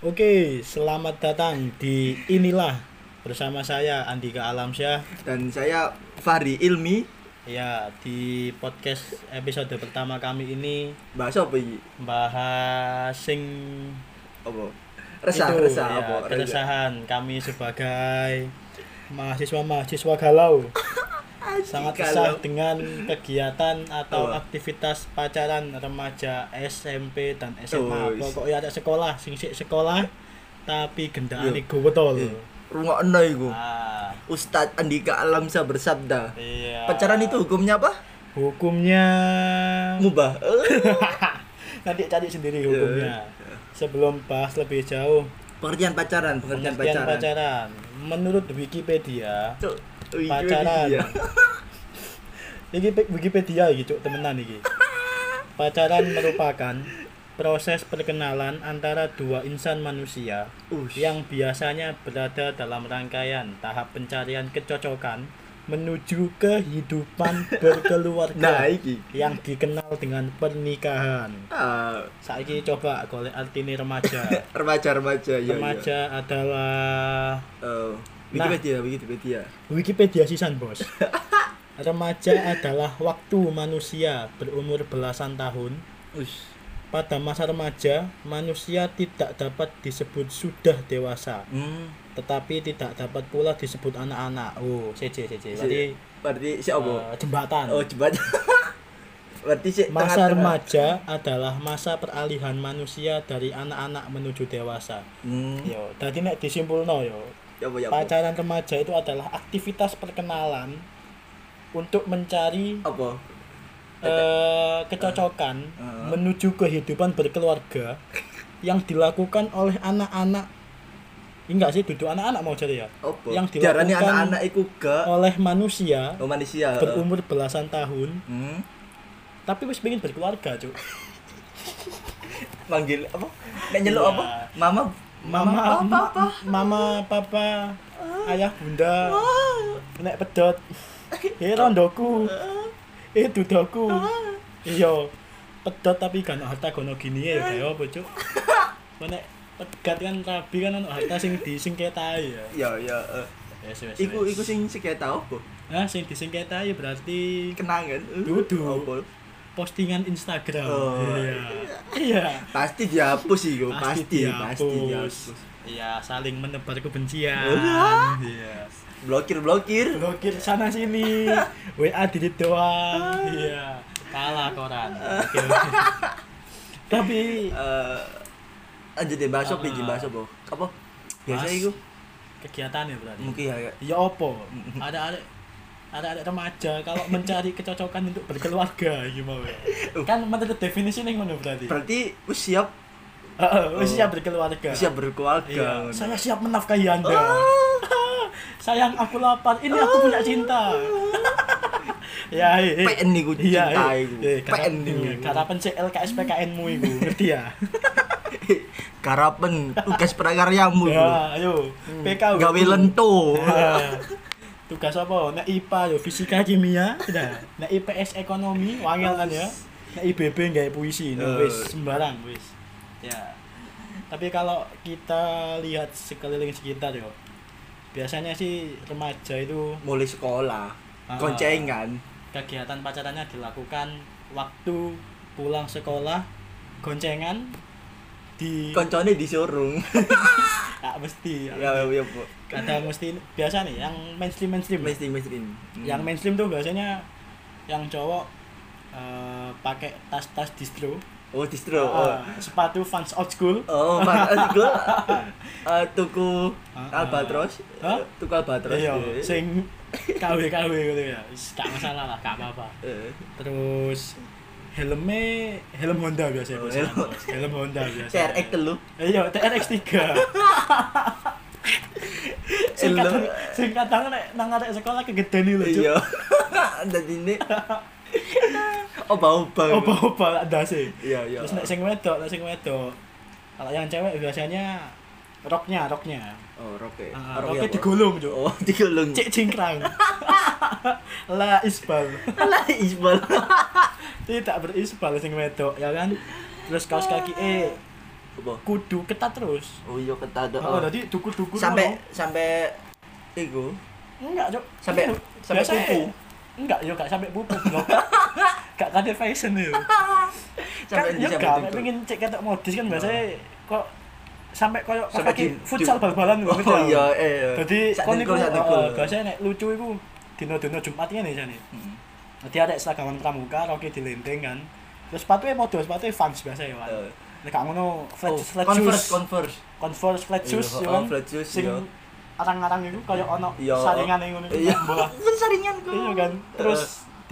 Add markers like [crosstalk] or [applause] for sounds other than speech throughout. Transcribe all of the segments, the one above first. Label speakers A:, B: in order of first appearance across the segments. A: Oke, selamat datang di inilah bersama saya Andika Alamsyah.
B: dan saya Fahri Ilmi
A: Ya, di podcast episode pertama kami ini
B: bahasa apa iki
A: membahas sing
B: apa resah
A: itu,
B: resah
A: ya,
B: apa resah
A: keresahan kami sebagai mahasiswa-mahasiswa galau. Sangat
B: galau.
A: resah dengan kegiatan atau
B: Apa?
A: aktivitas pacaran remaja SMP dan
B: Oh,
A: SMA.
B: is-
A: Pokoknya ada sekolah, sing sik sekolah tapi gendane
B: Yo.
A: gowo tol.
B: rungokno iku
A: Ah,
B: Ustadz Andika Alamsyah bersabda
A: iya.
B: pacaran itu hukumnya apa
A: [laughs] Hukumnya
B: mubah Eh,
A: nanti Kan cari
B: Iya.
A: sendiri hukumnya. Sebelum bahas lebih jauh
B: pengertian pacaran pengertian
A: pengertian
B: pacaran,
A: pacaran. Menurut Wikipedia,
B: Cuk, wih, wih,
A: Pacaran.
B: iya.
A: ini pe- Wikipedia gitu temenan
B: [laughs]
A: iki. Pacaran merupakan proses perkenalan antara dua insan manusia
B: Ush.
A: yang biasanya berada dalam rangkaian tahap pencarian kecocokan menuju kehidupan
B: [laughs]
A: berkeluarga
B: nah iki
A: yang dikenal dengan pernikahan.
B: Ah,
A: Saiki coba golek artine remaja.
B: remaja remaja ya
A: Remaja Nah. adalah
B: Oh. Wikipedia Wikipedia
A: Wikipedia sisan, Bos. Remaja adalah waktu manusia berumur belasan tahun.
B: Ush.
A: Pada masa remaja, manusia tidak dapat disebut sudah dewasa,
B: hmm
A: tetapi tidak dapat pula disebut anak-anak. Oh, CC CC. Berarti
B: berarti si apa
A: eh, jembatan.
B: oh cepat [laughs] berarti si
A: Masa
B: tengah-tengah.
A: remaja adalah masa peralihan manusia dari anak-anak menuju dewasa.
B: hmm
A: Yo, tadi nek disimpulno yo,
B: ya apa ya apa
A: Iya. pacaran remaja itu adalah aktivitas perkenalan untuk mencari
B: apa
A: eh, kecocokan
B: Oh, Eh.
A: menuju kehidupan berkeluarga yang dilakukan oleh anak-anak. Ini Enggak sih, duduk anak-anak mau jadi ya.
B: apa
A: Yang dilakukan
B: Jarane
A: Oh.
B: anak-anak iku gak
A: Oleh manusia
B: oh, manusia
A: berumur belasan tahun,
B: hmm?
A: tapi wis pengen berkeluarga, Cuk.
B: manggil apa nek nyeluk
A: Iya.
B: apa mama
A: Mama,
B: apa apa
A: mama, papa, ayah, bunda,
B: Oh.
A: nek pedot, eh rondoku, eh dudaku,
B: Oh.
A: iyo, Iya, pedot tapi kan harta gono gini ya, kayak apa
B: [laughs]
A: cuk? Nek pegat kan rabi kan ono harta sing disengketai ya.
B: ya ya eh.
A: Yes, yes,
B: iku
A: yes.
B: iku sing seketa apa
A: Nah, sing disengketai berarti
B: kenangan Eh,
A: Dudu.
B: apa
A: postingan Instagram.
B: Oh.
A: Iya. Iya.
B: pasti dihapus iku pasti pasti
A: dihapus.
B: dihapus Oh,
A: Iya, saling menebar kebencian.
B: Wah.
A: Iya.
B: blokir blokir
A: blokir sana
B: [laughs]
A: sini WA dikit
B: Ah.
A: doang iya kalah
B: [laughs]
A: koran Oke, oke. tapi
B: Eh, lanjut deh bahas apa
A: Nah.
B: iki bahas apa apa biasa
A: Bahas.
B: iku
A: kegiatan ya berarti
B: mungkin ya ya.
A: ya opo ada ada ada ada remaja kalau mencari kecocokan untuk berkeluarga gimana ya
B: Uh.
A: kan menurut definisi ini mana berarti
B: berarti wis siap
A: Heeh, wis siap berkeluarga
B: wis Oh. siap berkeluarga Ah.
A: Iya,
B: ngono.
A: saya siap menafkahi anda [laughs] sayang aku lapar ini
B: Ah.
A: aku punya
B: [laughs]
A: cinta ya eh, eh.
B: PN iku
A: Iya,
B: cinta
A: iya.
B: iku
A: Iya,
B: PN
A: karapen-
B: iku
A: iya, Karapen sik LKSPKN mu iku, ngerti ya?
B: Karapen tugas prakaryamu
A: Ya,
B: iku. Hmm.
A: ayo. PK
B: Gawe lento.
A: Ya. Tugas apa? Nek IPA yo fisika kimia, nah. Nek IPS ekonomi wangel kan ya. Nek IBB gawe puisi, nah,
B: Eh.
A: wis sembarang wis. Ya. Tapi kalau kita lihat sekeliling sekitar yo, biasanya sih remaja itu
B: Mulai sekolah,
A: Ah.
B: goncengan.
A: kegiatan pacarannya dilakukan waktu pulang sekolah, goncengan di
B: Koncone disurung.
A: tak mesti
B: ya ya Bu.
A: ada mesti biasa nih yang mainstream mainstream
B: Mainstream mainstream. Hmm.
A: Iya. yang mainstream tuh biasanya yang cowok eh, pakai tas-tas distro
B: oh distro.
A: eh,
B: Oh,
A: sepatu fans old school
B: oh Pak Artigo
A: [laughs]
B: eh, tuku
A: Ah, ah.
B: Albatros.
A: Hah?
B: eh, Tuku Albatros.
A: iya
B: eh. [laughs]
A: sing KW KW gitu ya Is, gak masalah lah gak apa-apa
B: Eh,
A: terus helmnya helm Honda biasanya
B: Oh,
A: bos,
B: helm.
A: bos. helm Honda biasa
B: CRX telu.
A: iya TRX
B: [laughs]
A: 3 sing
B: Helm.
A: kadang sing kadang nek nang arek sekolah kegedeni lho Cuk.
B: Iya. [laughs] Dan
A: [laughs]
B: ini Oba-oba.
A: opa-opa dasi
B: Iya, iya.
A: terus nek sing wedok nek sing wedok kalau yang cewek biasanya roknya roknya
B: Oh, roke.
A: Ah,
B: Roke
A: roknya
B: apa?
A: digulung cuk
B: Oh, digulung. [laughs]
A: cek cingkrang [laughs] la isbal
B: Alah, Isbal.
A: tidak berisbal sing wedok ya kan terus kaos kaki e
B: Apa?
A: kudu ketat terus.
B: Oh iya ketada.
A: Oh, tadi duku-duku
B: sampai sampai iku.
A: enggak, Cuk.
B: Sampai-
A: Ngono.
B: sampai
A: Biasanya-
B: pupu.
A: Enggak, yo gak sampai pupu,
B: [laughs]
A: blok. gak kade fashion yo. Kan
B: Sampai di
A: yo
B: sampai
A: gak
B: duku.
A: pengen cek ketok modis kan biasanya kok sampai koyo
B: Sampai
A: kaki
B: di-
A: futsal
B: di-
A: bal-balan kok
B: [laughs] Oh iya eh. iya.
A: Dadi
B: Sak
A: kon iku
B: dengkul,
A: eh,
B: sak dengkul.
A: heeh, biasanya nek lucu iku dino-dino Jumat ngene jane.
B: Hmm.
A: Dadi ada seragaman pramuka roki dilenteng kan. Terus sepatunya model sepatunya Vans biasa ya, Wan.
B: Eh,
A: Nek gak ngono flat
B: oh,
A: flat
B: Converse,
A: shoes.
B: Converse.
A: Converse flat
B: Iya,
A: shoes
B: oh,
A: ya kan.
B: flat shoes,
A: Sing
B: iya.
A: arang-arang iku kaya ono
B: Iya.
A: saringan ngono iku,
B: Iya.
A: bola.
B: Kan saringan ku.
A: Iya kan. Terus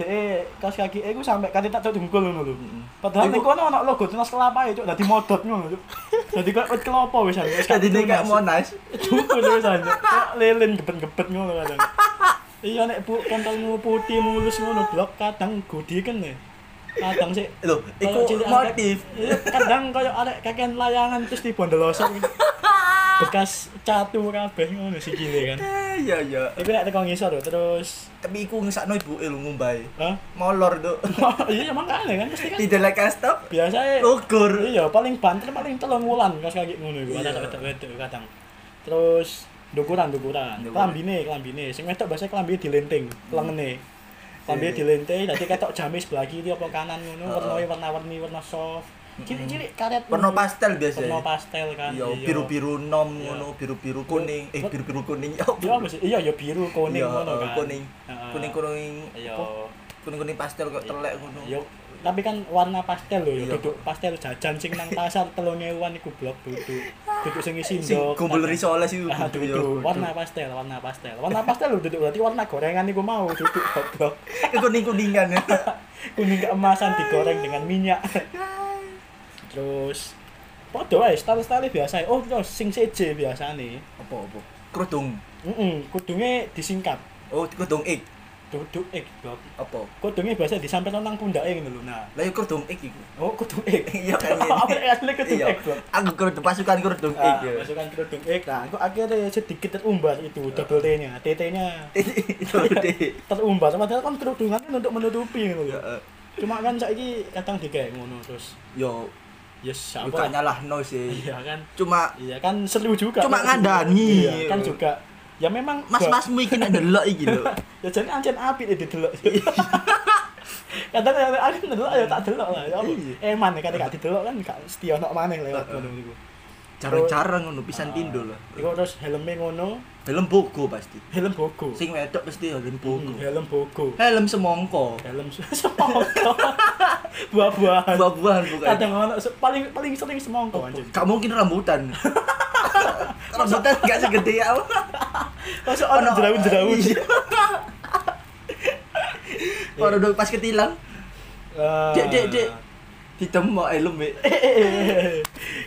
A: de kaos kaki iku sampai kate tak dungkul ngono lho.
B: Mm-mm.
A: Padahal
B: Iku-
A: ning kono ono logo tunas kelapa ya, Cuk. Dadi modot ngono, Cuk. Dadi kok wit kelapa wis anu. wis
B: Tadi dia kayak
A: tunas.
B: Monas.
A: [laughs] Dungkul wis anu. Kayak lilin gebet-gebet ngono kadang. Iya nek bu kontolmu putih mulus ngono blok kadang godiken ya. Kadang sik
B: Loh,
A: Kalau
B: iku
A: cilik arek-
B: motif.
A: Iya, kadang kayak ada kakean layangan terus dibondelosok bekas catu kabeh ngono sikile kan
B: Eh, Iya iya.
A: iku nek teko ngisor lho, terus
B: Tapi iku ngesakno ibuke lho ngumbai.
A: hah [laughs]
B: Molor tuh.
A: iya emang kale kan mesti kan
B: Tidak lek stop.
A: biasa
B: Oh, Ukur.
A: iya paling banter paling telung wulan kas kaki ngono iku
B: Iya.
A: ada wedok kadang terus dukuran dukuran
B: Dukuran.
A: klambine klambine sing wedok biasa klambi dilenting lengene klambi
B: Iya.
A: dilenting dadi ketok jamis sebelah kiri apa kanan ngono
B: Heeh.
A: warna warna-warni warna soft cilik-cilik karet
B: Warna
A: ngono.
B: pastel biasa.
A: warna pastel kan
B: Iya, biru-biru nom ngono, biru-biru kuning. Eh,
A: Kok-
B: biru-biru kuning.
A: iya apa sih? iya ya biru kuning
B: Iya, eh,
A: ngono kan
B: kuning.
A: Heeh.
B: Kuning-kuning.
A: iya
B: apa? Kuning-kuning pastel kok telek ngono.
A: Yo, tapi kan warna pastel lho,
B: Iya.
A: yo duduk pastel jajan sing nang pasar 3000-an iku blok duduk. Duduk sing isi
B: Sing
A: ndok.
B: gombel risoles iku
A: Ah,
B: duduk, yo,
A: duduk.
B: duduk.
A: Warna pastel, warna pastel. Warna pastel lho duduk berarti warna gorengan iku mau duduk goblok.
B: Eh, Kuning-kuningan [laughs] ya.
A: Kuning keemasan digoreng dengan minyak. Terus Podo ae, style-style biasa. Oh, terus sing CJ biasane.
B: Apa-apa? Kerudung.
A: Heeh, kudunge disingkat.
B: Oh, kerudung ik.
A: Duduk eh blok.
B: Apa?
A: Kudunge biasa disampet nang pundake ngono lho. Nah,
B: Lah yo kerudung ik iku.
A: oh kudung ek.
B: [laughs] Iya kan.
A: Apa asli kudung
B: Iya.
A: ek, blok.
B: Aku kerudung pasukan kerudung ik.
A: Ah,
B: yo. [laughs]
A: masukkan kerudung X nah aku akhirnya sedikit terumbat itu double T nya TT nya
B: Itu deh.
A: terumbat padahal kan kerudungan kan untuk menutupi gitu
B: Ya,
A: loh.
B: eh.
A: cuma kan saiki kadang digawe ngono terus ya
B: Yo,
A: yes
B: yo
A: apa
B: gak nyalahno sih.
A: iya kan
B: Cuma
A: iya kan seru juga
B: Cuma
A: Kan
B: ngandani.
A: iya, kan juga ya memang
B: mas-masmu iki nek ndelok iki
A: [laughs]
B: lho.
A: ya jadi ancen api itu delok [laughs] kadang ya aku delok ya tak delok lah ya apa?
B: Iya.
A: eh mana kan gak didelok kan gak setia nok maneh lewat
B: Heeh.
A: ngono iku
B: Jarang-jarang ngono
A: Ah.
B: pisan pindho lho.
A: Iku terus helmnya ngono
B: Helm bogo pasti.
A: helm bogo
B: Sing wedok pasti helm bogo.
A: Hmm, Kan. helm bogo
B: Helm semongko.
A: dalam [laughs] semongko buah-buahan
B: Buah-buahan Oh, bukan.
A: kadang ono se- paling paling sering semongko anjir
B: Gak
A: [laughs]
B: mungkin rambutan. rambutan gak segede ya.
A: masuk ono jerawut-jerawut
B: Iya. Baru dong pas ketilang,
A: Ah.
B: dek dek
A: [laughs]
B: dek ditemok helm eh.
A: Eh, eh, eh, eh.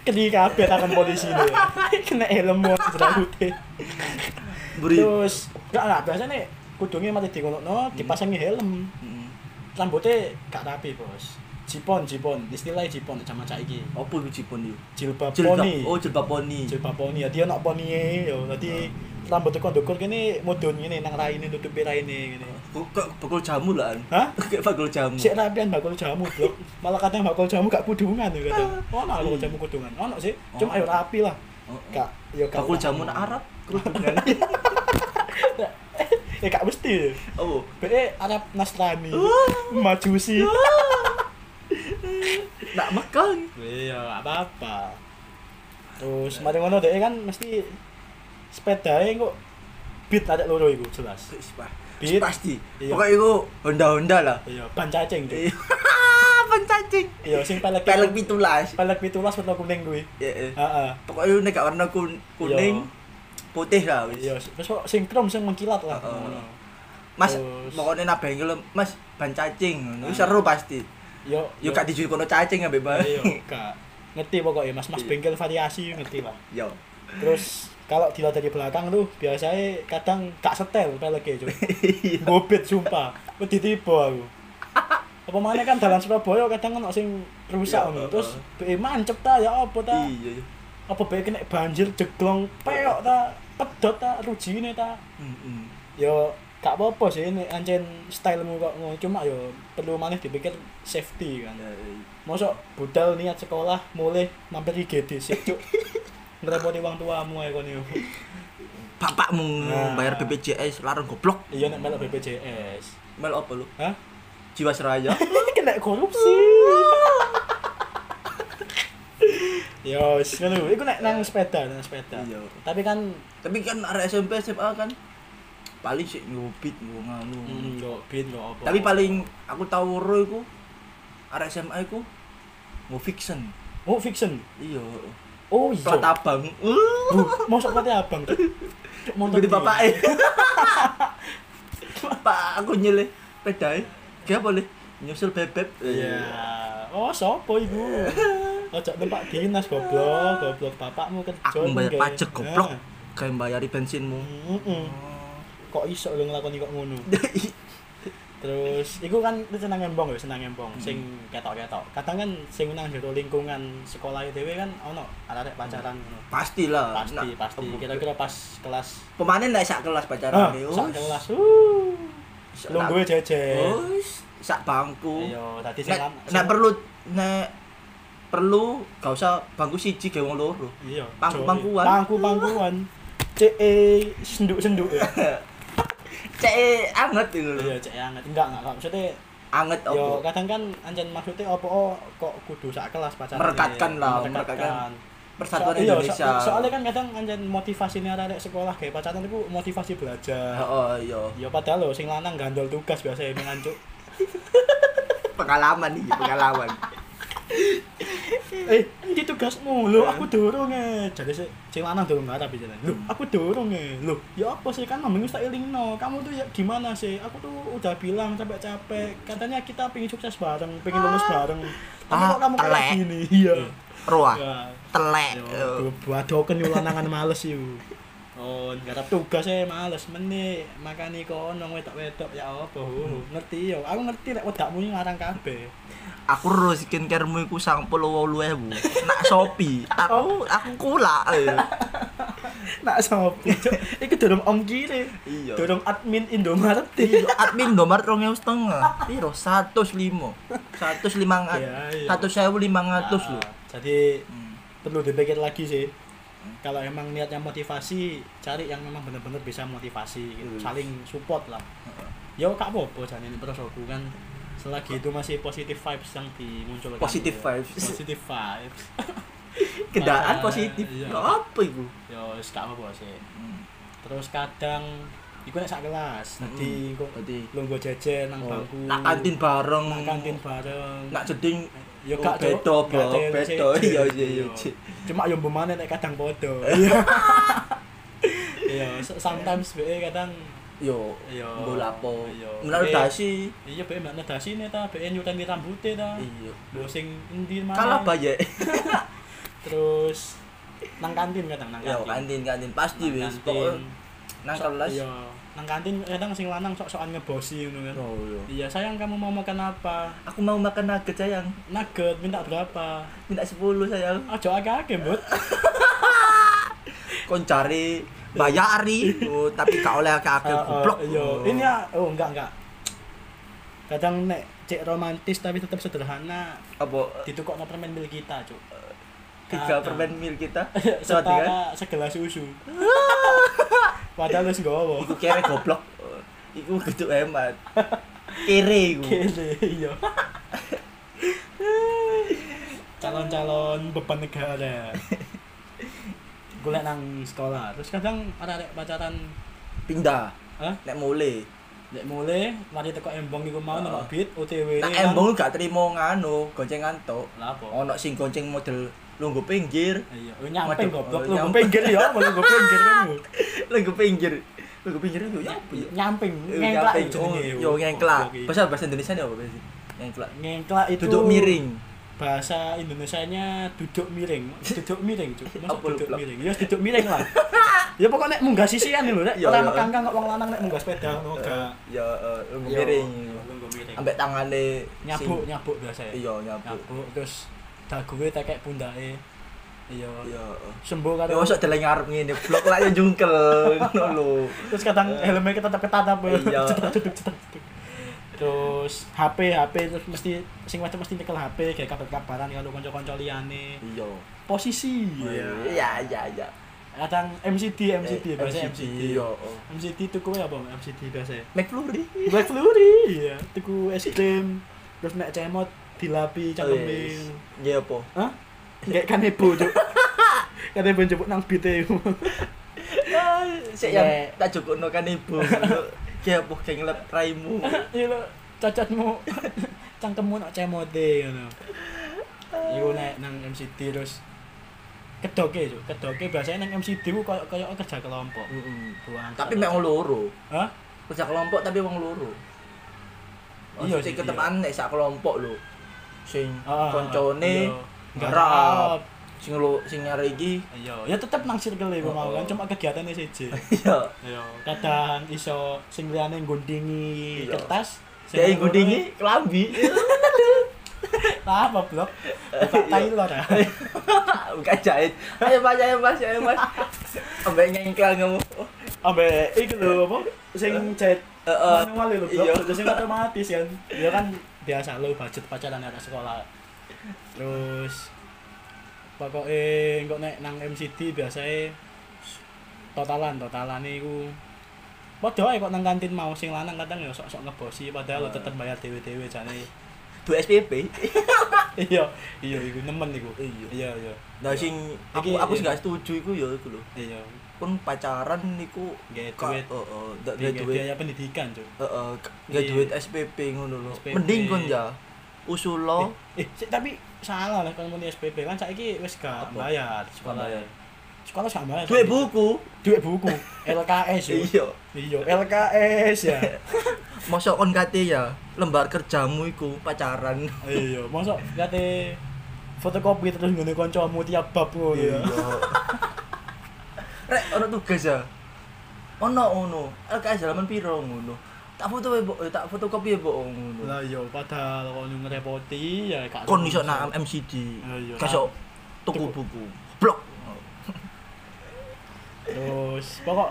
A: ketika kabeh tangan polisi ini ya. [laughs] kena helm ono jerawute
B: Beri.
A: terus gak lah biasanya kudungnya mati dikono dipasangi helm
B: Mm.
A: rambutnya gak rapi bos jipon jipon istilahnya jipon sama saiki
B: Apa iku jipon yo?
A: jilbab
B: Jilbab.
A: poni
B: Oh, jilbab poni.
A: jilbab poni ya dia nak poni ya dadi rambut kon dukur kene mudun ngene nang raine nutupi raine ngene
B: Kok kok bakul jamu lah. [laughs]
A: Hah?
B: Kayak bakul jamu.
A: Sik rapian bakul jamu, Blok. Malah kadang bakul jamu gak kudungan ya kadang. Ono bakul jamu kudungan. Ono sih. Cuma ayo rapi lah.
B: Oh, oh.
A: Gak ya gak.
B: Bakul jamu nak Arab [laughs] lah. kerudungan.
A: [laughs] Ya gak mesti.
B: Oh.
A: Be Arab Nasrani. Majusi.
B: Oh. Nak makan.
A: Iya, gak apa-apa. Terus mari ngono dhek kan mesti sepedae kok beat ada loro iku jelas.
B: Wis, Pak.
A: Bit.
B: Pasti.
A: Iya.
B: Pokoknya itu Honda-Honda lah.
A: Iya, ban cacing. Cuk.
B: [laughs] Pan cacing.
A: Iya, sing pelek
B: Pelek pitulas.
A: pelek pitulas warna kuning kuwi.
B: Heeh.
A: Heeh.
B: Iya, Pokoknya ini gak warna kun- kuning, putih lah wis.
A: Iya, terus kok sing krom sing mengkilat lah.
B: Heeh. Mas,
A: Terus.
B: pokoknya nabahin lo, Mas, ban cacing. Ini
A: Ah.
B: seru pasti.
A: Yo,
B: Yo gak dijual kono cacing ambek ban.
A: Iya, gak. Ngerti pokoknya mas mas bengkel variasi ngerti lah.
B: Yo. [laughs]
A: Terus kalau dilihat dari belakang tuh biasanya kadang gak setel peleknya cuy. Iya. Gobet sumpah. Wedi tiba aku. Apa mana kan dalan Surabaya kadang ono sing rusak
B: Iya,
A: ngono.
B: heeh.
A: Terus be mancep ta ya apa ta?
B: Iya.
A: Apa be kena banjir jeglong peok ta? Pedot ta rujine ta?
B: Mm-mm.
A: Yo gak apa-apa sih ini ancen stylemu kok ngono cuma yo perlu maneh dipikir safety kan.
B: eh,
A: Mosok budal niat sekolah mulai mampir IGD sik cuk. Ngerepoti wong tuamu ae kon yo.
B: Bapakmu
A: Nah.
B: bayar BPJS larang goblok.
A: Iya nek melok BPJS.
B: Mel apa lu?
A: Hah? [laughs]
B: Jiwasraya.
A: Kena korupsi. [laughs] Yo, wis ngono. Iku nek nang sepeda, nang sepeda.
B: Iya.
A: Tapi kan
B: Tapi kan arek SMP SMA kan paling sik nyubit nganu.
A: mm, yo bin yo apa.
B: Hmm. Tapi paling aku tahu ro iku arek SMA iku mau fiction.
A: oh fiction.
B: Iya.
A: Oh iya.
B: Plat abang. [laughs]
A: Buh, mosok pate abang. Cuk. Cuk, montor
B: Gede
A: dia.
B: bapak eh. [laughs] Pak aku nyileh pedai. Gak boleh nyusul bebek.
A: Iya. Oh, sopo iku? Ojo tempat dinas goblok, goblok bapakmu kan kerja.
B: [laughs] Aku bayar
A: nggih.
B: pajak goblok.
A: Nah.
B: Kayak bayari bensinmu.
A: Mm-mm. Kok iso lu nglakoni kok ngono? Terus iku kan senang embong ya, senang embong
B: Hmm.
A: sing ketok-ketok. Kadang kan sing nang jero lingkungan sekolah dhewe kan ono arek pacaran ngono.
B: [laughs] Pastilah.
A: Pasti,
B: Hmm. Nah,
A: pasti. Kira-kira pas kelas
B: Pemanen naik sak kelas
A: Ah,
B: pacaran
A: sak kelas. Uh. Belum gue jejer.
B: Wis, sak bangku.
A: Ayo, tadi sing
B: Oh. Nek,
A: kan.
B: nek perlu nek perlu gak usah bangku siji ge wong loro. [laughs]
A: Iya.
B: Pangku-
A: Joy.
B: pangkuan.
A: Pangku pangkuan. CE eh, senduk-senduk ya.
B: Cek anget iku lho.
A: Iya, CE anget. Enggak, enggak, enggak. Maksudnya
B: Anget
A: yo
B: opo?
A: kadang kan anjen maksudnya opo oh, kok kudu sak kelas pacaran.
B: Merekatkan lah, merekatkan. Persatuan Indonesia.
A: iya, so- soalnya kan kadang anjen motivasi arek sekolah kayak pacaran itu motivasi belajar.
B: Oh iya,
A: Ya padahal lo sing lanang gandol tugas biasa ya mengancuk.
B: pengalaman iki, pengalaman.
A: eh, ini tugasmu. Lho, aku durung e. Jadi sih sing lanang durung ngarep jalan. Lho,
B: Hmm.
A: aku durung e. Lho, ya apa sih kan mending tak elingno. Kamu tuh ya gimana sih? Aku tuh udah bilang capek-capek. Katanya kita pengen sukses bareng, pengen lulus bareng. Tapi
B: Ah,
A: kok kamu kayak
B: telek. Hmm. Ah.
A: gini? Iya.
B: Roa,
A: Ya.
B: telek.
A: Yo, badoken yo lanangan males yo. Oh, ngarep tugas e males meni makani kono wedok-wedok ya apa. ho. Ngerti yo. Aku ngerti nek wedakmu iki ngarang kabeh.
B: Aku ro skincaremu iku 98.000. Nak Shopee,
A: Oh.
B: aku aku kula.
A: Nak sop. [laughs] Iku dorong om kiri.
B: Iya.
A: Dorong admin Indomaret. [laughs]
B: Iya, admin Indomaret 2.500. Piro? 105. 105.
A: Iya, iya. Ah.
B: 1.500 lho. Hmm.
A: Jadi perlu dipikir lagi sih. Kalau emang niatnya motivasi, cari yang memang benar-benar bisa motivasi, gitu.
B: Yes.
A: saling support lah. Yo kak apa-apa jangan ini terus aku kan selagi itu masih positive vibes yang dimunculkan.
B: Positive
A: gitu ya.
B: vibes.
A: Positive vibes. Ah,
B: Kendaan positif.
A: iya.
B: Ya apa iku?
A: Yo wis gak apa-apa sih.
B: Hmm.
A: Terus kadang iku nek sak kelas, tadi kok
B: Tadi.
A: lungguh jajan nang
B: Hmm. Oh,
A: bangku.
B: nak kantin bareng.
A: Nang kantin bareng.
B: Nak jeding.
A: Ya
B: Oh,
A: gak Cuk.
B: beda,
A: Gak
B: Bro.
A: cewek,
B: Beda.
A: cewek.
B: Iya, iya, iya. Cik.
A: Cuma yo mbemane nek kadang
B: [laughs]
A: podo. Iya, so- sometimes be kadang
B: Yo,
A: Iya.
B: mbok lapo.
A: Iya.
B: Menaruh
A: Tapi-
B: dasi.
A: iya be mbak nedasi ne ta, be nyuteni rambute ta.
B: Iya.
A: Lho sing endi mana?
B: Kalah baye.
A: Terus nang kantin kadang nang
B: Yo
A: kantin.
B: kantin kantin pasti
A: Nang
B: wis.
A: kantin.
B: Pokoknya Nang
A: Sok-
B: kelas.
A: Iya, nang kantin kadang sing lanang sok-sokan ngebosi ngono kan.
B: Oh,
A: Iya,
B: iya.
A: sayang kamu mau makan apa?
B: Aku mau makan nugget sayang.
A: Nugget minta berapa?
B: Minta 10 sayang.
A: Aja agak-agak, Mbut.
B: Kon cari bayari. Oh, tapi gak oleh akeh-akeh
A: Ah, ah,
B: goblok.
A: Iya, ini ya, oh enggak enggak. Kadang nek cek romantis tapi tetap sederhana,
B: apa
A: ditukokno permen milik kita, Cuk. Kadang.
B: tiga permen mil [laughs] kita [laughs] Satu,
A: Setara
B: kan?
A: segelas
B: [laughs]
A: susu. Padahal wis nggowo.
B: iku kere [laughs] goblok iku geduk hemat kere iku
A: Kene iya. [laughs] Calon-calon beban negara. Golek nang sekolah, terus kadang ada pacaran,
B: pindah
A: hah?
B: nek mule
A: Nek mulai, mari teko embong iku mau nang beat OTW.
B: nek
A: kan.
B: embong gak trimo nganu goncengan tok
A: Lah apa?
B: ono sing gonceng model lungguh pinggir [laughs]
A: Iya, oh, nyamping
B: Waduh,
A: goblok
B: oh,
A: lu
B: nyamping.
A: pinggir ya, mau lu pinggir kan lu.
B: lungguh pinggir lungguh pinggir iku ya apa ya
A: Nyamping,
B: Eh,
A: ngengklak
B: nyamping. Oh,
A: jenenge.
B: yo ngengklak
A: Oke, oke.
B: bahasa bahasa Indonesia apa bahasa ngengklak
A: Ngengklak itu
B: duduk miring
A: Bahasa Indonesianya duduk miring. Duduk miring, Cuk. Masa
B: Apa lu,
A: duduk
B: Blok?
A: miring. Ya duduk miring
B: [laughs]
A: lah. Ya pokoknya nek munggah sisian lho nek
B: Iya,
A: ora
B: iya.
A: mekangkang kok wong lanang nek munggah sepeda ngono Oh, gak.
B: ya eh, lungguh
A: Yo,
B: miring
A: lu nggo miring.
B: ambek tangane
A: Nyabuk, nyabuk biasa ya.
B: iya nyabuk
A: Nyabuk terus dague tekek pundake. iya
B: Iya.
A: sembuh
B: Ya
A: karo
B: mosok deleng ngarep ngene, blok lak yo jungkel [laughs] ngono lho.
A: terus kadang helmnya kita tetap ketatap ya
B: Eh. Iya.
A: [laughs] cetak cetak cetak cetak. terus HP HP terus mesti sing macam mesti nyekel HP kayak kabar kabaran kalau kanca-kanca liyane
B: Iya.
A: posisi
B: Iya, iya, iya.
A: kadang MCD MCD
B: Eh,
A: biasa
B: MCD,
A: MCD
B: Iya. oh.
A: MCD tuku apa MCD biasa
B: McFlurry.
A: Black Fury iya tuku es krim terus nek cemot
B: Oh,
A: dilapi
B: Yes.
A: cangkemin
B: Iya apa?
A: Hah? Kayak
B: iya.
A: kanebo,
B: [laughs]
A: Cuk. Kanebo njupuk nang e, bite iku.
B: Ah, Sik
A: Iya.
B: yang tak jukukno kan ibu. Iya apa geng lep raimu.
A: Iya lho, cacatmu [laughs] cangkemmu nak cemote ngono. Iku nek nang MCD terus kedoke, Cuk. Kedoke biasanya nang MCD ku koyo koyo kerja kelompok. Buang.
B: Tapi mek wong loro.
A: Hah?
B: Kerja kelompok tapi wong loro.
A: Iya
B: Iya
A: sih,
B: sih ketepan nek sak kelompok lho. Sing
A: Ah,
B: koncone
A: iya.
B: garap. sing lo sing nyari iki. [laughs]
A: Iya, ya tetep nang circle iku
B: Oh,
A: mau kan
B: oh.
A: cuma kegiatannya
B: [laughs]
A: siji.
B: Iya.
A: Iya, kadang iso sing liyane ngguntingi
B: Iya.
A: kertas. sing
B: Dek
A: loro-
B: gudingi [laughs] kelambi.
A: Lah, apa blok? Buka
B: Iya. [laughs]
A: Taylor ya.
B: Bukan jahit. Ayo Mas, ayo Mas, ayo Mas. Ambek nyengkel kamu.
A: Ambe iki lho apa sing jahit
B: Heeh.
A: manual lho blok
B: iya.
A: terus sing otomatis kan. Ya kan biasa lo budget pacaran anak sekolah. Terus pokoknya kok nek nang MCD biasanya totalan totalan iku Padha ae kok nang kantin mau sing lanang kadang ya sok-sok ngebosi padahal
B: Eh.
A: tetep bayar dhewe-dhewe jane. [laughs]
B: Dua SPP.
A: Iya, iya iku nemen iku.
B: Iya.
A: Iya, iya.
B: Nah sing aku
A: Iki-
B: aku sih
A: iya.
B: gak setuju iku ya iku lho.
A: Iya.
B: Pun pacaran niku
A: Nggak
B: ka-
A: duit.
B: Heeh, nggak nggak
A: Biaya
B: duit.
A: biaya pendidikan, Cuk.
B: Heeh, nggak
A: Iya.
B: duit SPP ngono lho.
A: SPP.
B: Mending kon ya usul lo
A: Eh, sik, tapi salah lah kalau muni SPP kan saiki wis gak
B: Apa?
A: bayar sekolah.
B: bayar.
A: Sekolah gak bayar.
B: duit
A: saiki.
B: buku.
A: duit buku, LKS yo.
B: Iya.
A: Iya, LKS
B: [laughs]
A: ya.
B: Mosok kon kate ya lembar kerjamu iku pacaran.
A: Iya, mosok kate fotokopi terus ngene kancamu tiap bab ngono ya.
B: Iya. Rek ono tugas ya. Ono ngono. LKS halaman piro ngono. Tak foto ya, Mbok. Eh, tak fotokopi ya, Mbok, ngono.
A: Lah yo padahal kono ngerepoti ya gak.
B: Kon iso nang MCD.
A: Ya, iya.
B: Kasok tuku
A: Tuku.
B: buku. Blok.
A: Terus pokok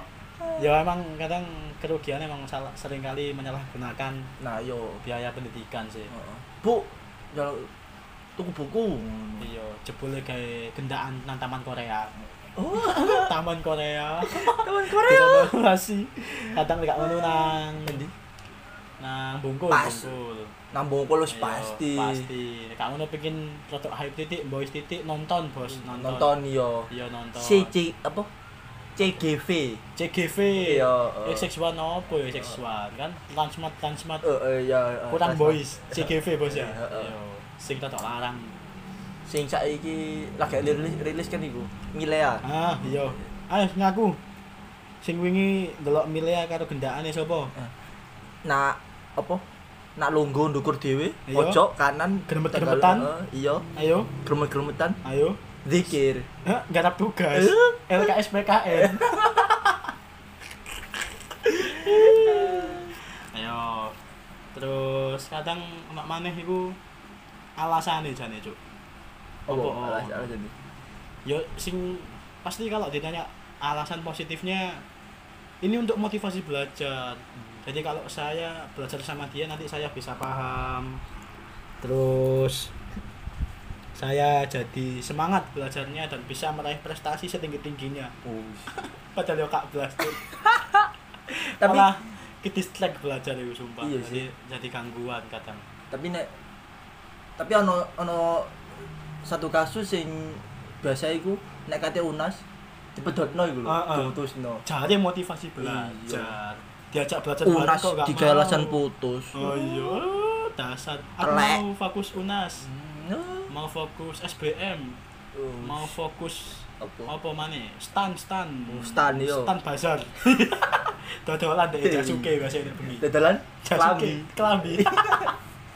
A: ya emang kadang kerugian emang salah sering kali menyalahgunakan
B: Nah, yo.
A: biaya pendidikan sih.
B: Heeh. Bu, jalo tuku buku. ngono.
A: Iya, jebule kayak gendaan nang taman Korea.
B: Oh,
A: Taman Korea.
B: teman
A: Masih. Kadang gak ngono nang
B: Endi?
A: nang bungkul,
B: Pas.
A: bungkul.
B: Nambung polos
A: Iya,
B: pasti.
A: Pasti. Nek kamu no pengin rotok hype titik, boys titik nonton, Bos, nonton.
B: Hmm, Nonton yo.
A: Iya, nonton.
B: CC apa? CGV.
A: CGV.
B: Iya,
A: Eh,
B: eh.
A: seksual no apa ya seksual kan? Transmat, transmat.
B: Eh, eh, ya. eh,
A: Kurang
B: tas-
A: boys, CGV Bos ya.
B: Iya, iya.
A: Iya. Sing rotok larang.
B: sing saiki lagi rilis rilis kan iku Milea
A: Ah, iya. Ayo ngaku. Sing wingi delok Milea karo gendaane sapa?
B: nak apa nak longgo ndukur dhewe
A: Iya.
B: pojok kanan
A: Geremet-geremetan.
B: tengah, eh, iya
A: Ayo,
B: gremet-gremetan
A: ayo.
B: zikir
A: Hah, garap tugas.
B: Eh?
A: LKS PKN. [laughs] Ayo. Terus kadang emak maneh iku alasane jane, Cuk. Apa?
B: alas alas jadi
A: Yo sing pasti kalau ditanya alasan positifnya ini untuk motivasi belajar. Jadi kalau saya belajar sama dia nanti saya bisa paham. Terus saya jadi semangat belajarnya dan bisa meraih prestasi setinggi-tingginya. Padahal yo kak belas tuh.
B: tapi
A: Malah ke distract belajar itu sumpah.
B: Iya
A: jadi jadi gangguan kadang.
B: tapi nek tapi ono ono satu kasus sing biasa iku nek kate unas dipedotno iku lho
A: Ah, ah.
B: diputusno
A: Cari motivasi belajar. Diajak belajar bareng
B: Iya. unas
A: kok gak
B: tiga
A: mau.
B: alasan putus
A: Oh iya, dasar. Aku
B: Telek.
A: mau fokus UNAS,
B: Hmm,
A: mau fokus SBM,
B: oh.
A: mau fokus
B: Apa?
A: apa maneh? Stan stan.
B: Oh, stan, iya.
A: Stan bazar. [laughs] Dodolan dek Jasuke biasa ini bengi.
B: Dadalan
A: Jasuke,
B: kelambi [laughs]
A: kelambi.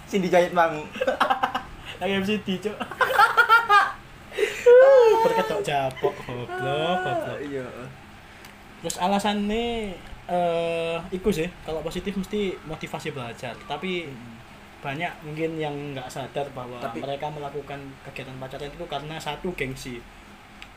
B: sing dijahit mang
A: Lagi MCD,
B: [laughs]
A: Cuk. Berkedok japok goblok, goblok.
B: iya
A: Terus alasannya eh iku sih, kalau positif mesti motivasi belajar, tapi banyak mungkin yang nggak sadar bahwa
B: Tapi-
A: mereka melakukan kegiatan pacaran itu karena satu gengsi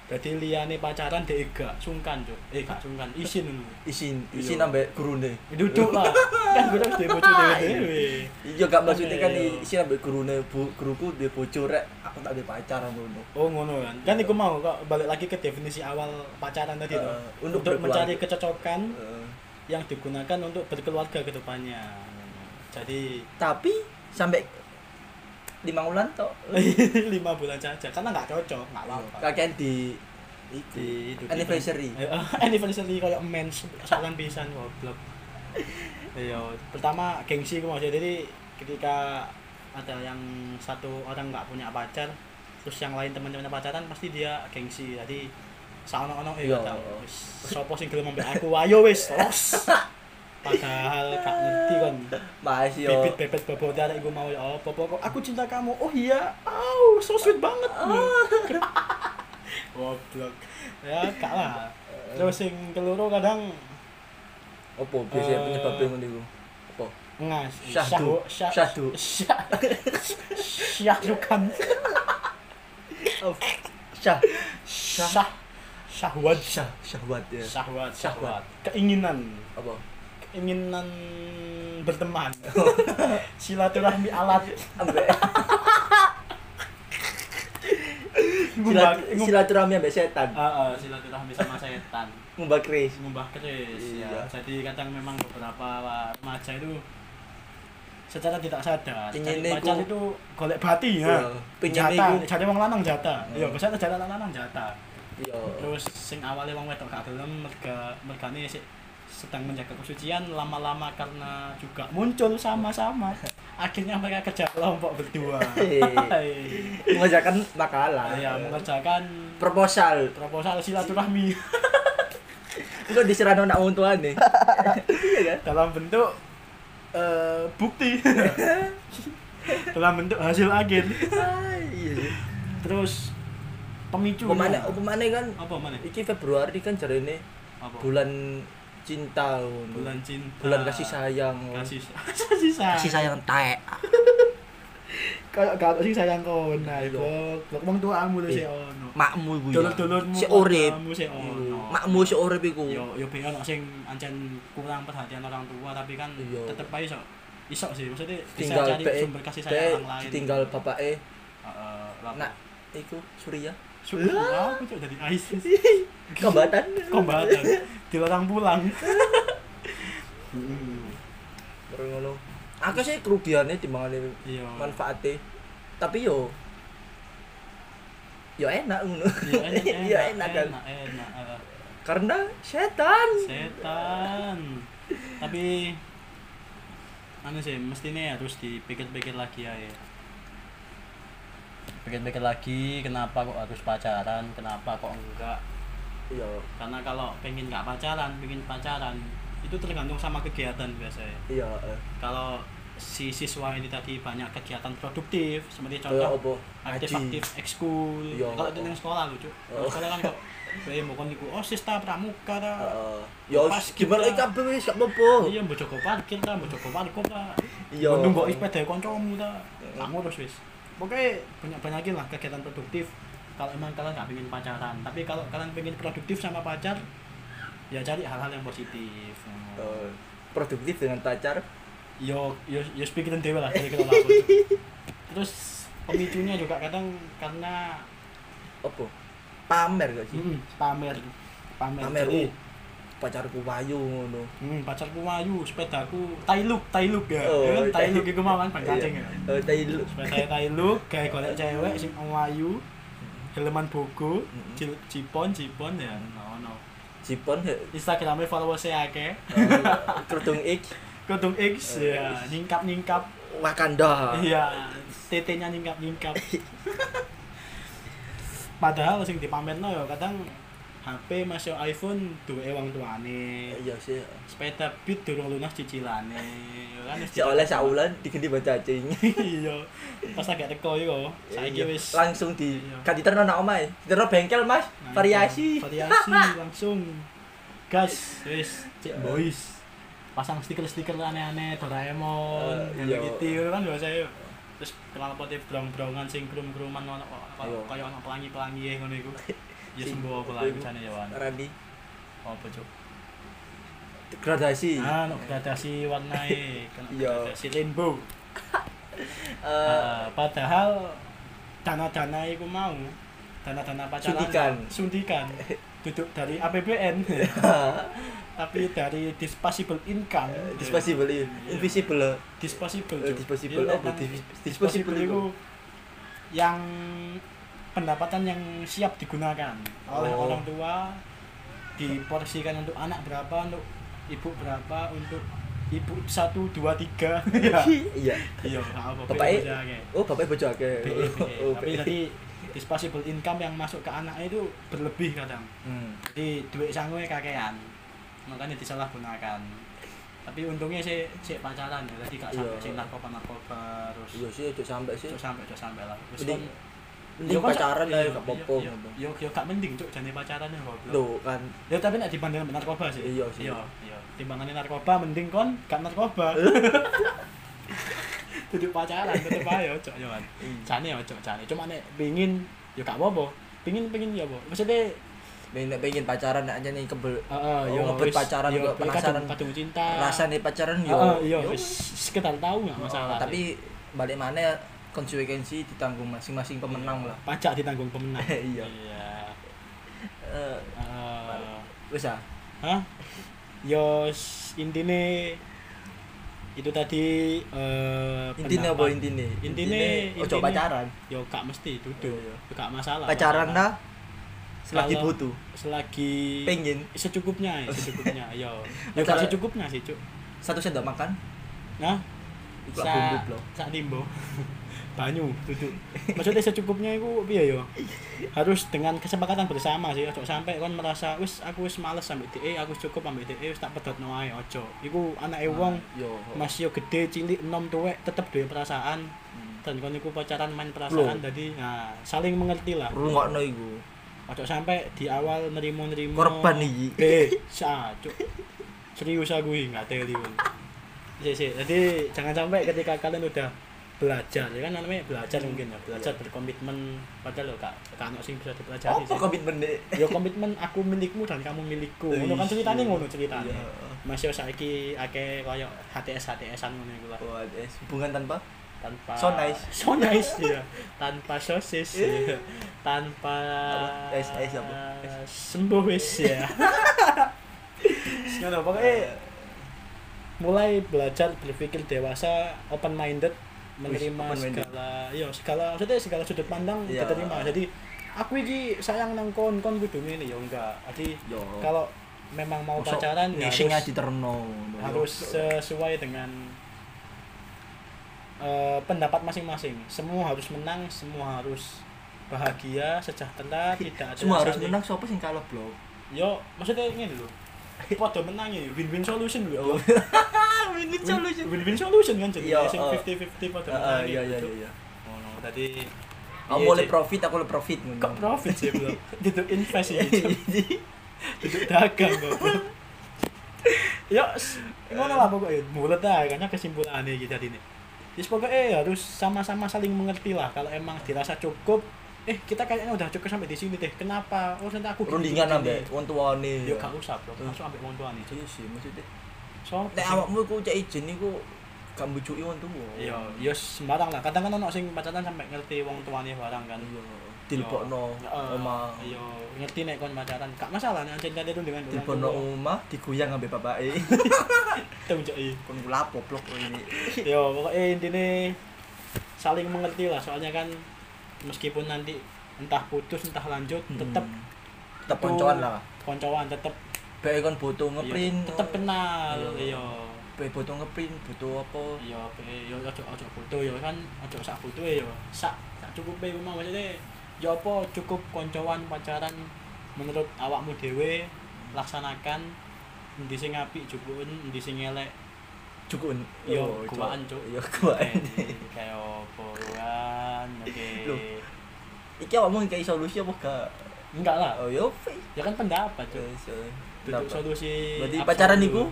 A: Dadi liyane pacaran dhek gak sungkan, Cuk. Eh gak sungkan, isin ngono.
B: isin isin
A: Iya.
B: nambah gurune
A: Duduk
B: [laughs]
A: lah. Kan gue harus dia bocu dewe-dewe.
B: iya gak maksudnya kan
A: Iya.
B: isin nambah gurune bu guruku dia bocor rek aku tak ada pacar ngono
A: Oh ngono kan. Kan iku mau kok balik lagi ke definisi awal pacaran tadi tuh.
B: Heeh, Eh, untuk
A: untuk
B: berkeluarga.
A: mencari kecocokan
B: Eh,
A: yang digunakan untuk berkeluarga ke depannya. Jadi
B: tapi sampai lima bulan tok
A: [laughs] lima bulan saja karena nggak cocok, nggak apa-apa.
B: kakek di itu
A: Di- di-
B: anniversary
A: Eh, eh, anniversary kayak mens soalan pisan goblok. [laughs] Iya, pertama gengsi ku maksudnya jadi ketika ada yang satu orang nggak punya pacar terus yang lain teman-temannya pacaran pasti dia gengsi jadi saono-ono eh
B: Iya.
A: gak tau wis, sopo sing gelem ambek aku ayo wis [laughs] los padahal gak ngerti kan
B: masih yo
A: bibit bebet bobot arek iku mau ya apa pokok aku cinta kamu oh iya au so sweet banget [laughs] goblok ya gak lah terus sing keloro kadang
B: opo
A: Eh,
B: biasanya penyebabnya ngono iku opo
A: ngas
B: Syahdu.
A: syah-
B: Syahdu.
A: syah syahdukan Oh.
B: syah
A: syah syahwat
B: syah syahwat ya
A: syahwat
B: Syahwat.
A: syahwat keinginan
B: apa
A: keinginan berteman silaturahmi alat
B: ambek
A: Ngumbar-
B: silat- silaturahmi ambek setan
A: Ah, ah, silaturahmi sama setan
B: ngumbak kris
A: ngubah keris
B: Iya.
A: ya. Jadi kadang memang beberapa remaja itu secara tidak sadar
B: Ingin
A: cari pacar
B: niku-
A: itu golek bati
B: Iya,
A: ya.
B: pingin
A: Jata,
B: niku-
A: cari wong lanang jata.
B: Hmm.
A: Ya, biasanya cari lanang jata.
B: yo
A: Terus sing awalnya wong wedok gak gelem merga mergane sik sedang menjaga kesucian lama-lama karena juga muncul
B: [laughs]
A: sama-sama akhirnya mereka kerja kelompok berdua
B: Iya.
A: [laughs]
B: Hei. mengajarkan makalah
A: ya mengerjakan
B: proposal
A: proposal silaturahmi
B: Engko diserano nak
A: [laughs]
B: wong tuane. Iya kan?
A: dalam bentuk eh, [laughs] bukti dalam bentuk hasil akhir
B: Ah, Iya. iya.
A: terus pemicu
B: Pemane pemane kan
A: apa mana
B: iki Februari kan jarene
A: apa
B: bulan cinta ngono.
A: bulan cinta
B: bulan kasih sayang. ngono.
A: kasih [laughs] kasih sayang
B: Kasih sayang taek.
A: kalau kalau kasih sayang kau nah
B: Iya.
A: itu ngomong tua kamu tuh
B: Eh,
A: si ono
B: Makmu iku ya.
A: Dulur-dulurmu
B: si urip. Iya.
A: kamu si ono
B: Makmu si Hmm. urip iku.
A: yo yo ben ono sing ancen kurang perhatian orang tua tapi kan
B: Iya.
A: tetep ae iso iso sih maksudnya bisa
B: Tinggal
A: cari
B: pe
A: sumber kasih
B: pe
A: sayang orang lain
B: tinggal bapake
A: Heeh, lah.
B: nak iku Surya.
A: Syukur aku cok dari ISIS
B: Kombatan.
A: kombatan dilarang pulang
B: Terus ngono. Aku sih kerugiannya timbangane
A: iya
B: manfaatnya tapi yo yo enak ngono
A: iya enak
B: [laughs] Iya, enak kan
A: enak, enak, enak.
B: karena setan
A: setan tapi anu sih mestinya harus dipikir-pikir lagi ya ya. pikir-pikir lagi kenapa kok harus pacaran kenapa kok enggak
B: yo
A: karena kalau pengen nggak pacaran pengen pacaran itu tergantung sama kegiatan biasanya
B: iya
A: kalau si siswa ini tadi banyak kegiatan produktif seperti
B: kayak
A: contoh
B: Eh, apa
A: aktif
B: ngaji
A: aktif ekskul
B: Iya,
A: kalau
B: apa.
A: di sekolah lucu
B: Oh.
A: oh. sekolah kan kok bayi mau kon iku oh sista pramuka ta
B: Heeh. yo
A: Pas
B: gimana
A: kita-
B: kabeh wis gak apa-apa
A: iya mbok jaga parkir ta mbok jaga parkur ta
B: Oh. Iya.
A: mbok nunggu sepeda kancamu ta
B: Iya.
A: tak ngurus wis pokoknya banyak banyakin lah kegiatan produktif kalau emang kalian nggak pengen pacaran tapi kalau kalian pengen produktif sama pacar ya cari hal-hal yang positif
B: Eh, produktif dengan pacar
A: yo yo yo pikirin dewe lah kira-kira lah aku. terus pemicunya juga kadang karena
B: apa pamer gak sih
A: mm, pamer pamer,
B: pamer
A: Jadi,
B: oh pacarku payu ngono
A: hmm, pacarku wayu sepedaku tailuk tailuk ya oh,
B: Oh,
A: tailuk
B: tai-
A: iku mau kan pancing ya
B: Iya. Eh, tai lu
A: sepeda tailuk gawe golek cewek sing wayu Heleman Bogo,
B: Mm-mm.
A: Cil- Cipon, Cipon ya, no no.
B: jipon
A: [laughs]
B: eh,
A: Instagramnya followersnya akeh,
B: kerudung ik
A: Kutung X
B: Eh.
A: ya, nyingkap nyingkap,
B: Wakanda
A: iya, tetenya nyingkap
B: [laughs]
A: nyingkap. Padahal sing dipamerno ya kadang HP masih iPhone duwe wong tuane.
B: iya sih
A: sepeda beat durung lunas cicilane ya kan [laughs] wis
B: si oleh saulan diganti bacacing
A: iya pas agak teko iku [laughs] saiki
B: Iya.
A: wis
B: langsung di
A: Iya.
B: kan diterno nang omah ya. diterno bengkel mas
A: Nah,
B: Iya, variasi Iya.
A: itu. variasi langsung gas wis cek boys pasang stiker-stiker aneh-aneh Doraemon
B: Eh,
A: Hello
B: iya.
A: Kitty gitu kan biasa yo terus kelapa tip brong-brongan sing krum-kruman ono
B: Iya.
A: koyo ono pelangi-pelangi ngono iku ya
B: Si-
A: sembuh apa
B: apa
A: lagi
B: iku?
A: jane ya wan
B: Randy
A: apa cuk
B: gradasi
A: ah no
B: Eh,
A: gradasi warnai kena
B: Iya.
A: gradasi rainbow
B: Eh,
A: Ah, padahal dana-dana iku mau dana-dana pacaran
B: Suntikan.
A: suntikan duduk dari APBN
B: [laughs] eh,
A: tapi dari disposable income Iya.
B: disposable iya. invisible
A: disposable
B: Eh,
A: Cuk.
B: disposable
A: Iya,
B: apa
A: kan?
B: Dis-
A: disposable
B: disposable
A: itu
B: itu
A: yang pendapatan yang siap digunakan oleh
B: Oh.
A: orang tua diporsikan untuk anak berapa untuk ibu berapa untuk ibu satu dua tiga [laughs] ya
B: [laughs] iya
A: iya apa
B: Bapaknya-
A: BE,
B: oh bapaknya bojo akeh
A: BE. E,
B: oh
A: tapi
B: BE.
A: tadi disposable income yang masuk ke anaknya itu berlebih kadang
B: Hmm.
A: jadi duit sanggulnya kakean makanya disalahgunakan tapi untungnya sih sih pacaran ya tadi gak sampai
B: Iya.
A: sih narkoba narkoba terus
B: iya sih ojo sampe sih
A: Cuk sampai cuk sampai lah. Wis
B: Mending-
A: kon-
B: mending
A: Yo, kon-
B: pacaran lah
A: iya,
B: gak
A: iya,
B: apa-apa
A: iya. Yo yo gak mending cuk jane pacaran ya goblok.
B: Loh, kan
A: Ya tapi nek dibandingkan sama narkoba sih.
B: Iya sih.
A: Iya, iya. Timbangane narkoba mending kon gak narkoba. [laughs] Duduk pacaran tetep ayo cuk yo. Wan.
B: Iya.
A: Jane yo cuk jane. Cuma nek pengin yo gak apa-apa. Pengin pengin ya apa? Maksudnya
B: pengen pengen pacaran nek aja nih kebel
A: heeh
B: Oh, ngebet pacaran juga penasaran.
A: Kadung cinta.
B: rasane pacaran yo
A: Heeh, iya wis sekitar tahu gak masalah.
B: Ah, tapi balik mana konsekuensi ditanggung masing-masing pemenang lah
A: pajak ditanggung pemenang.
B: [laughs] Iya.
A: Iya.
B: Eh,
A: Eh,
B: wis ah
A: Hah? Yo s- intine itu tadi eh
B: intine apa
A: pendapat.
B: intine
A: Intine
B: ojo
A: intine-
B: pacaran
A: Yo gak mesti duduk.
B: Iya, iya.
A: Yo gak masalah.
B: pacaran lah selagi
A: Kalau-
B: butuh
A: Selagi
B: pengen
A: secukupnya, ya, secukupnya.
B: [laughs]
A: Yo. Yo
B: Pacaran-
A: gak secukupnya sih, Cuk.
B: satu sendok makan
A: Nah,
B: Iku lah
A: sa
B: bumbu blok.
A: sak timbo. Banyu duduk. Maksudnya secukupnya itu piye yo? Harus dengan kesepakatan bersama sih, ojo sampai kon merasa wis aku wis males sampe DE, aku wis cukup sampe DE, wis tak pedotno ae ojo. Iku
B: Eh,
A: anake
B: Nah.
A: wong
B: yo
A: Mas yo gede cilik enom tuwek tetep duwe perasaan
B: Hmm.
A: dan kon iku pacaran main perasaan
B: Loh.
A: jadi nah, saling mengerti lah.
B: rungokno iku
A: Ojo sampai di awal nerimo-nerimo
B: korban iki
A: Eh, sa, cuk. Serius aku iki enggak teli. Bun. Sik, sik. Jadi jangan sampai ketika kalian udah belajar ya kan namanya belajar mungkin ya belajar berkomitmen padahal lo kak kak anak sing bisa dipelajari
B: apa
A: sih
B: komitmen dek
A: ya komitmen aku milikmu dan kamu milikku ngono kan ceritanya ngono ceritanya
B: Iya.
A: Mas yo saiki akeh koyo HTS HTSan ngono iku lah
B: Wah, guys, eh, hubungan tanpa
A: tanpa
B: So
A: [laughs]
B: nice. Eh.
A: so nice ya tanpa sosis ya tanpa
B: Apa? Ice, ice apa?
A: sembuh wis ya Ngono,
B: Iya.
A: pokoknya mulai belajar berpikir dewasa open minded menerima
B: open-minded.
A: segala yo segala maksudnya segala sudut pandang
B: Iya.
A: diterima jadi aku ini sayang nang kon kon kudu ngene ya enggak jadi
B: yo iya,
A: kalau memang mau
B: Oh. Mosok
A: pacaran ya
B: ngising
A: harus-
B: aja diterno
A: harus
B: Iya.
A: sesuai dengan eh, pendapat masing-masing. Semua harus menang, semua harus bahagia,
B: [laughs]
A: sejahtera, tidak ada
B: semua harus
A: saling-
B: menang siapa sing kalah blok
A: Yo, maksudnya ini dulu. Podo menang ya, win-win solution lho. Ah,
B: ini
A: Win-win solution kan jadi
B: Yo,
A: sing
B: oh.
A: 50-50 podo
B: Heeh,
A: menang.
B: iya iya
A: gitu.
B: iya.
A: Ngono. Tadi
B: Aku
A: Iya,
B: oleh
A: Cik.
B: profit, aku oleh profit. ngono. Iya.
A: kok
B: [laughs]
A: profit sih belum? Itu invest ya. Cuk. Itu dagang kok. Yo, s- ngono lah pokoknya mulut lah karena kesimpulannya gitu tadi nih. Jadi pokoknya eh, harus sama-sama saling mengerti lah kalau emang dirasa cukup eh kita kayaknya udah cukup sampai di sini deh. Kenapa? Oh, nanti aku gini,
B: Rundingan
A: gini,
B: ambek
A: gini.
B: wong tuane.
A: iya. Yo gak usah, Bro. Langsung ambek wong tuane.
B: Iya sih maksudnya.
A: So,
B: Nek awakmu iku cek izin iku gak mbujuki wong tuwa.
A: Yo, yo Ya, sembarang lah. Kadang kan ono sing pacaran sampai ngerti wong tuane barang kan.
B: Iya. Dilebokno
A: Eh,
B: omah.
A: Yo, ngerti nek kon pacaran. Gak masalah nek ancen kate dengan orang
B: Dilebokno
A: tua.
B: omah digoyang ambek
A: [laughs]
B: bapake.
A: Tunggu, Cok, iya.
B: Kon ku lapo blok kowe ini.
A: ya pokoknya intinya saling mengerti lah soalnya kan meskipun nanti entah putus entah lanjut
B: Hmm.
A: tetep
B: tetep koncoan lah.
A: koncoan tetep ya,
B: Bae kon butuh ngeprint,
A: Iya. tetep kenal
B: Iya.
A: iya
B: bae butuh ngeprint, butuh apa?
A: iya iya ojo ojo butuh ya kan ojo sak butuh ya sak sak cukup ya memang maksudnya ya apa cukup koncoan pacaran menurut awakmu dewe laksanakan endi sing apik jupuk endi sing
B: [laughs]
A: elek
B: Cukun.
A: Yo,
B: Oh, cuk.
A: kuaan, Iya, cuk. Eh, iya.
B: Yo kuaan.
A: kayak apa kan oke
B: Loh. Iki awakmu kayak solusi apa gak?
A: enggak lah
B: Oh yo. fe.
A: ya kan pendapat Cuk.
B: Yo, so.
A: Bentuk
B: Kenapa?
A: solusi
B: Berarti
A: absolut.
B: pacaran itu?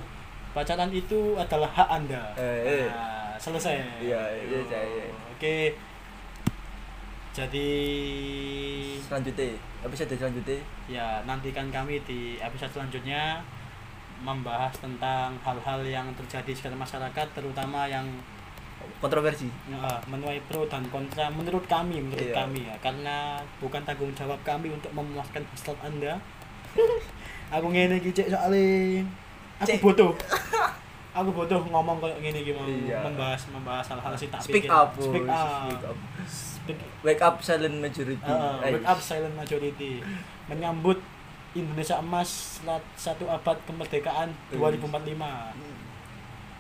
A: pacaran itu adalah hak anda
B: Eh, eh.
A: Nah, selesai
B: Iya, iya, iya, iya.
A: oke Jadi
B: Selanjutnya, episode selanjutnya
A: ya nantikan kami di episode selanjutnya membahas tentang hal-hal yang terjadi di sekitar masyarakat terutama yang
B: kontroversi.
A: eh, menuai pro dan kontra menurut kami menurut
B: Iya.
A: kami ya karena bukan tanggung jawab kami untuk memuaskan hasrat
B: [laughs]
A: anda aku ngene iki cek soalnya aku
B: Cek.
A: butuh aku butuh ngomong kayak ngene iki mau
B: Iya.
A: membahas membahas hal-hal sih tak
B: Speak
A: pikir.
B: up,
A: speak
B: boys.
A: up
B: Speak up.
A: Speak-
B: Wake up silent majority.
A: Uh,
B: Eh,
A: wake up silent majority menyambut Indonesia emas selat- satu abad kemerdekaan
B: Wih.
A: 2045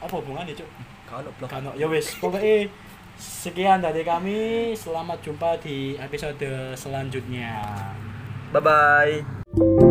A: apa hubungannya cuk
B: Hmm. Kau nak blok.
A: Kano ya wis pokoknya sekian dari kami selamat jumpa di episode selanjutnya
B: Bye bye.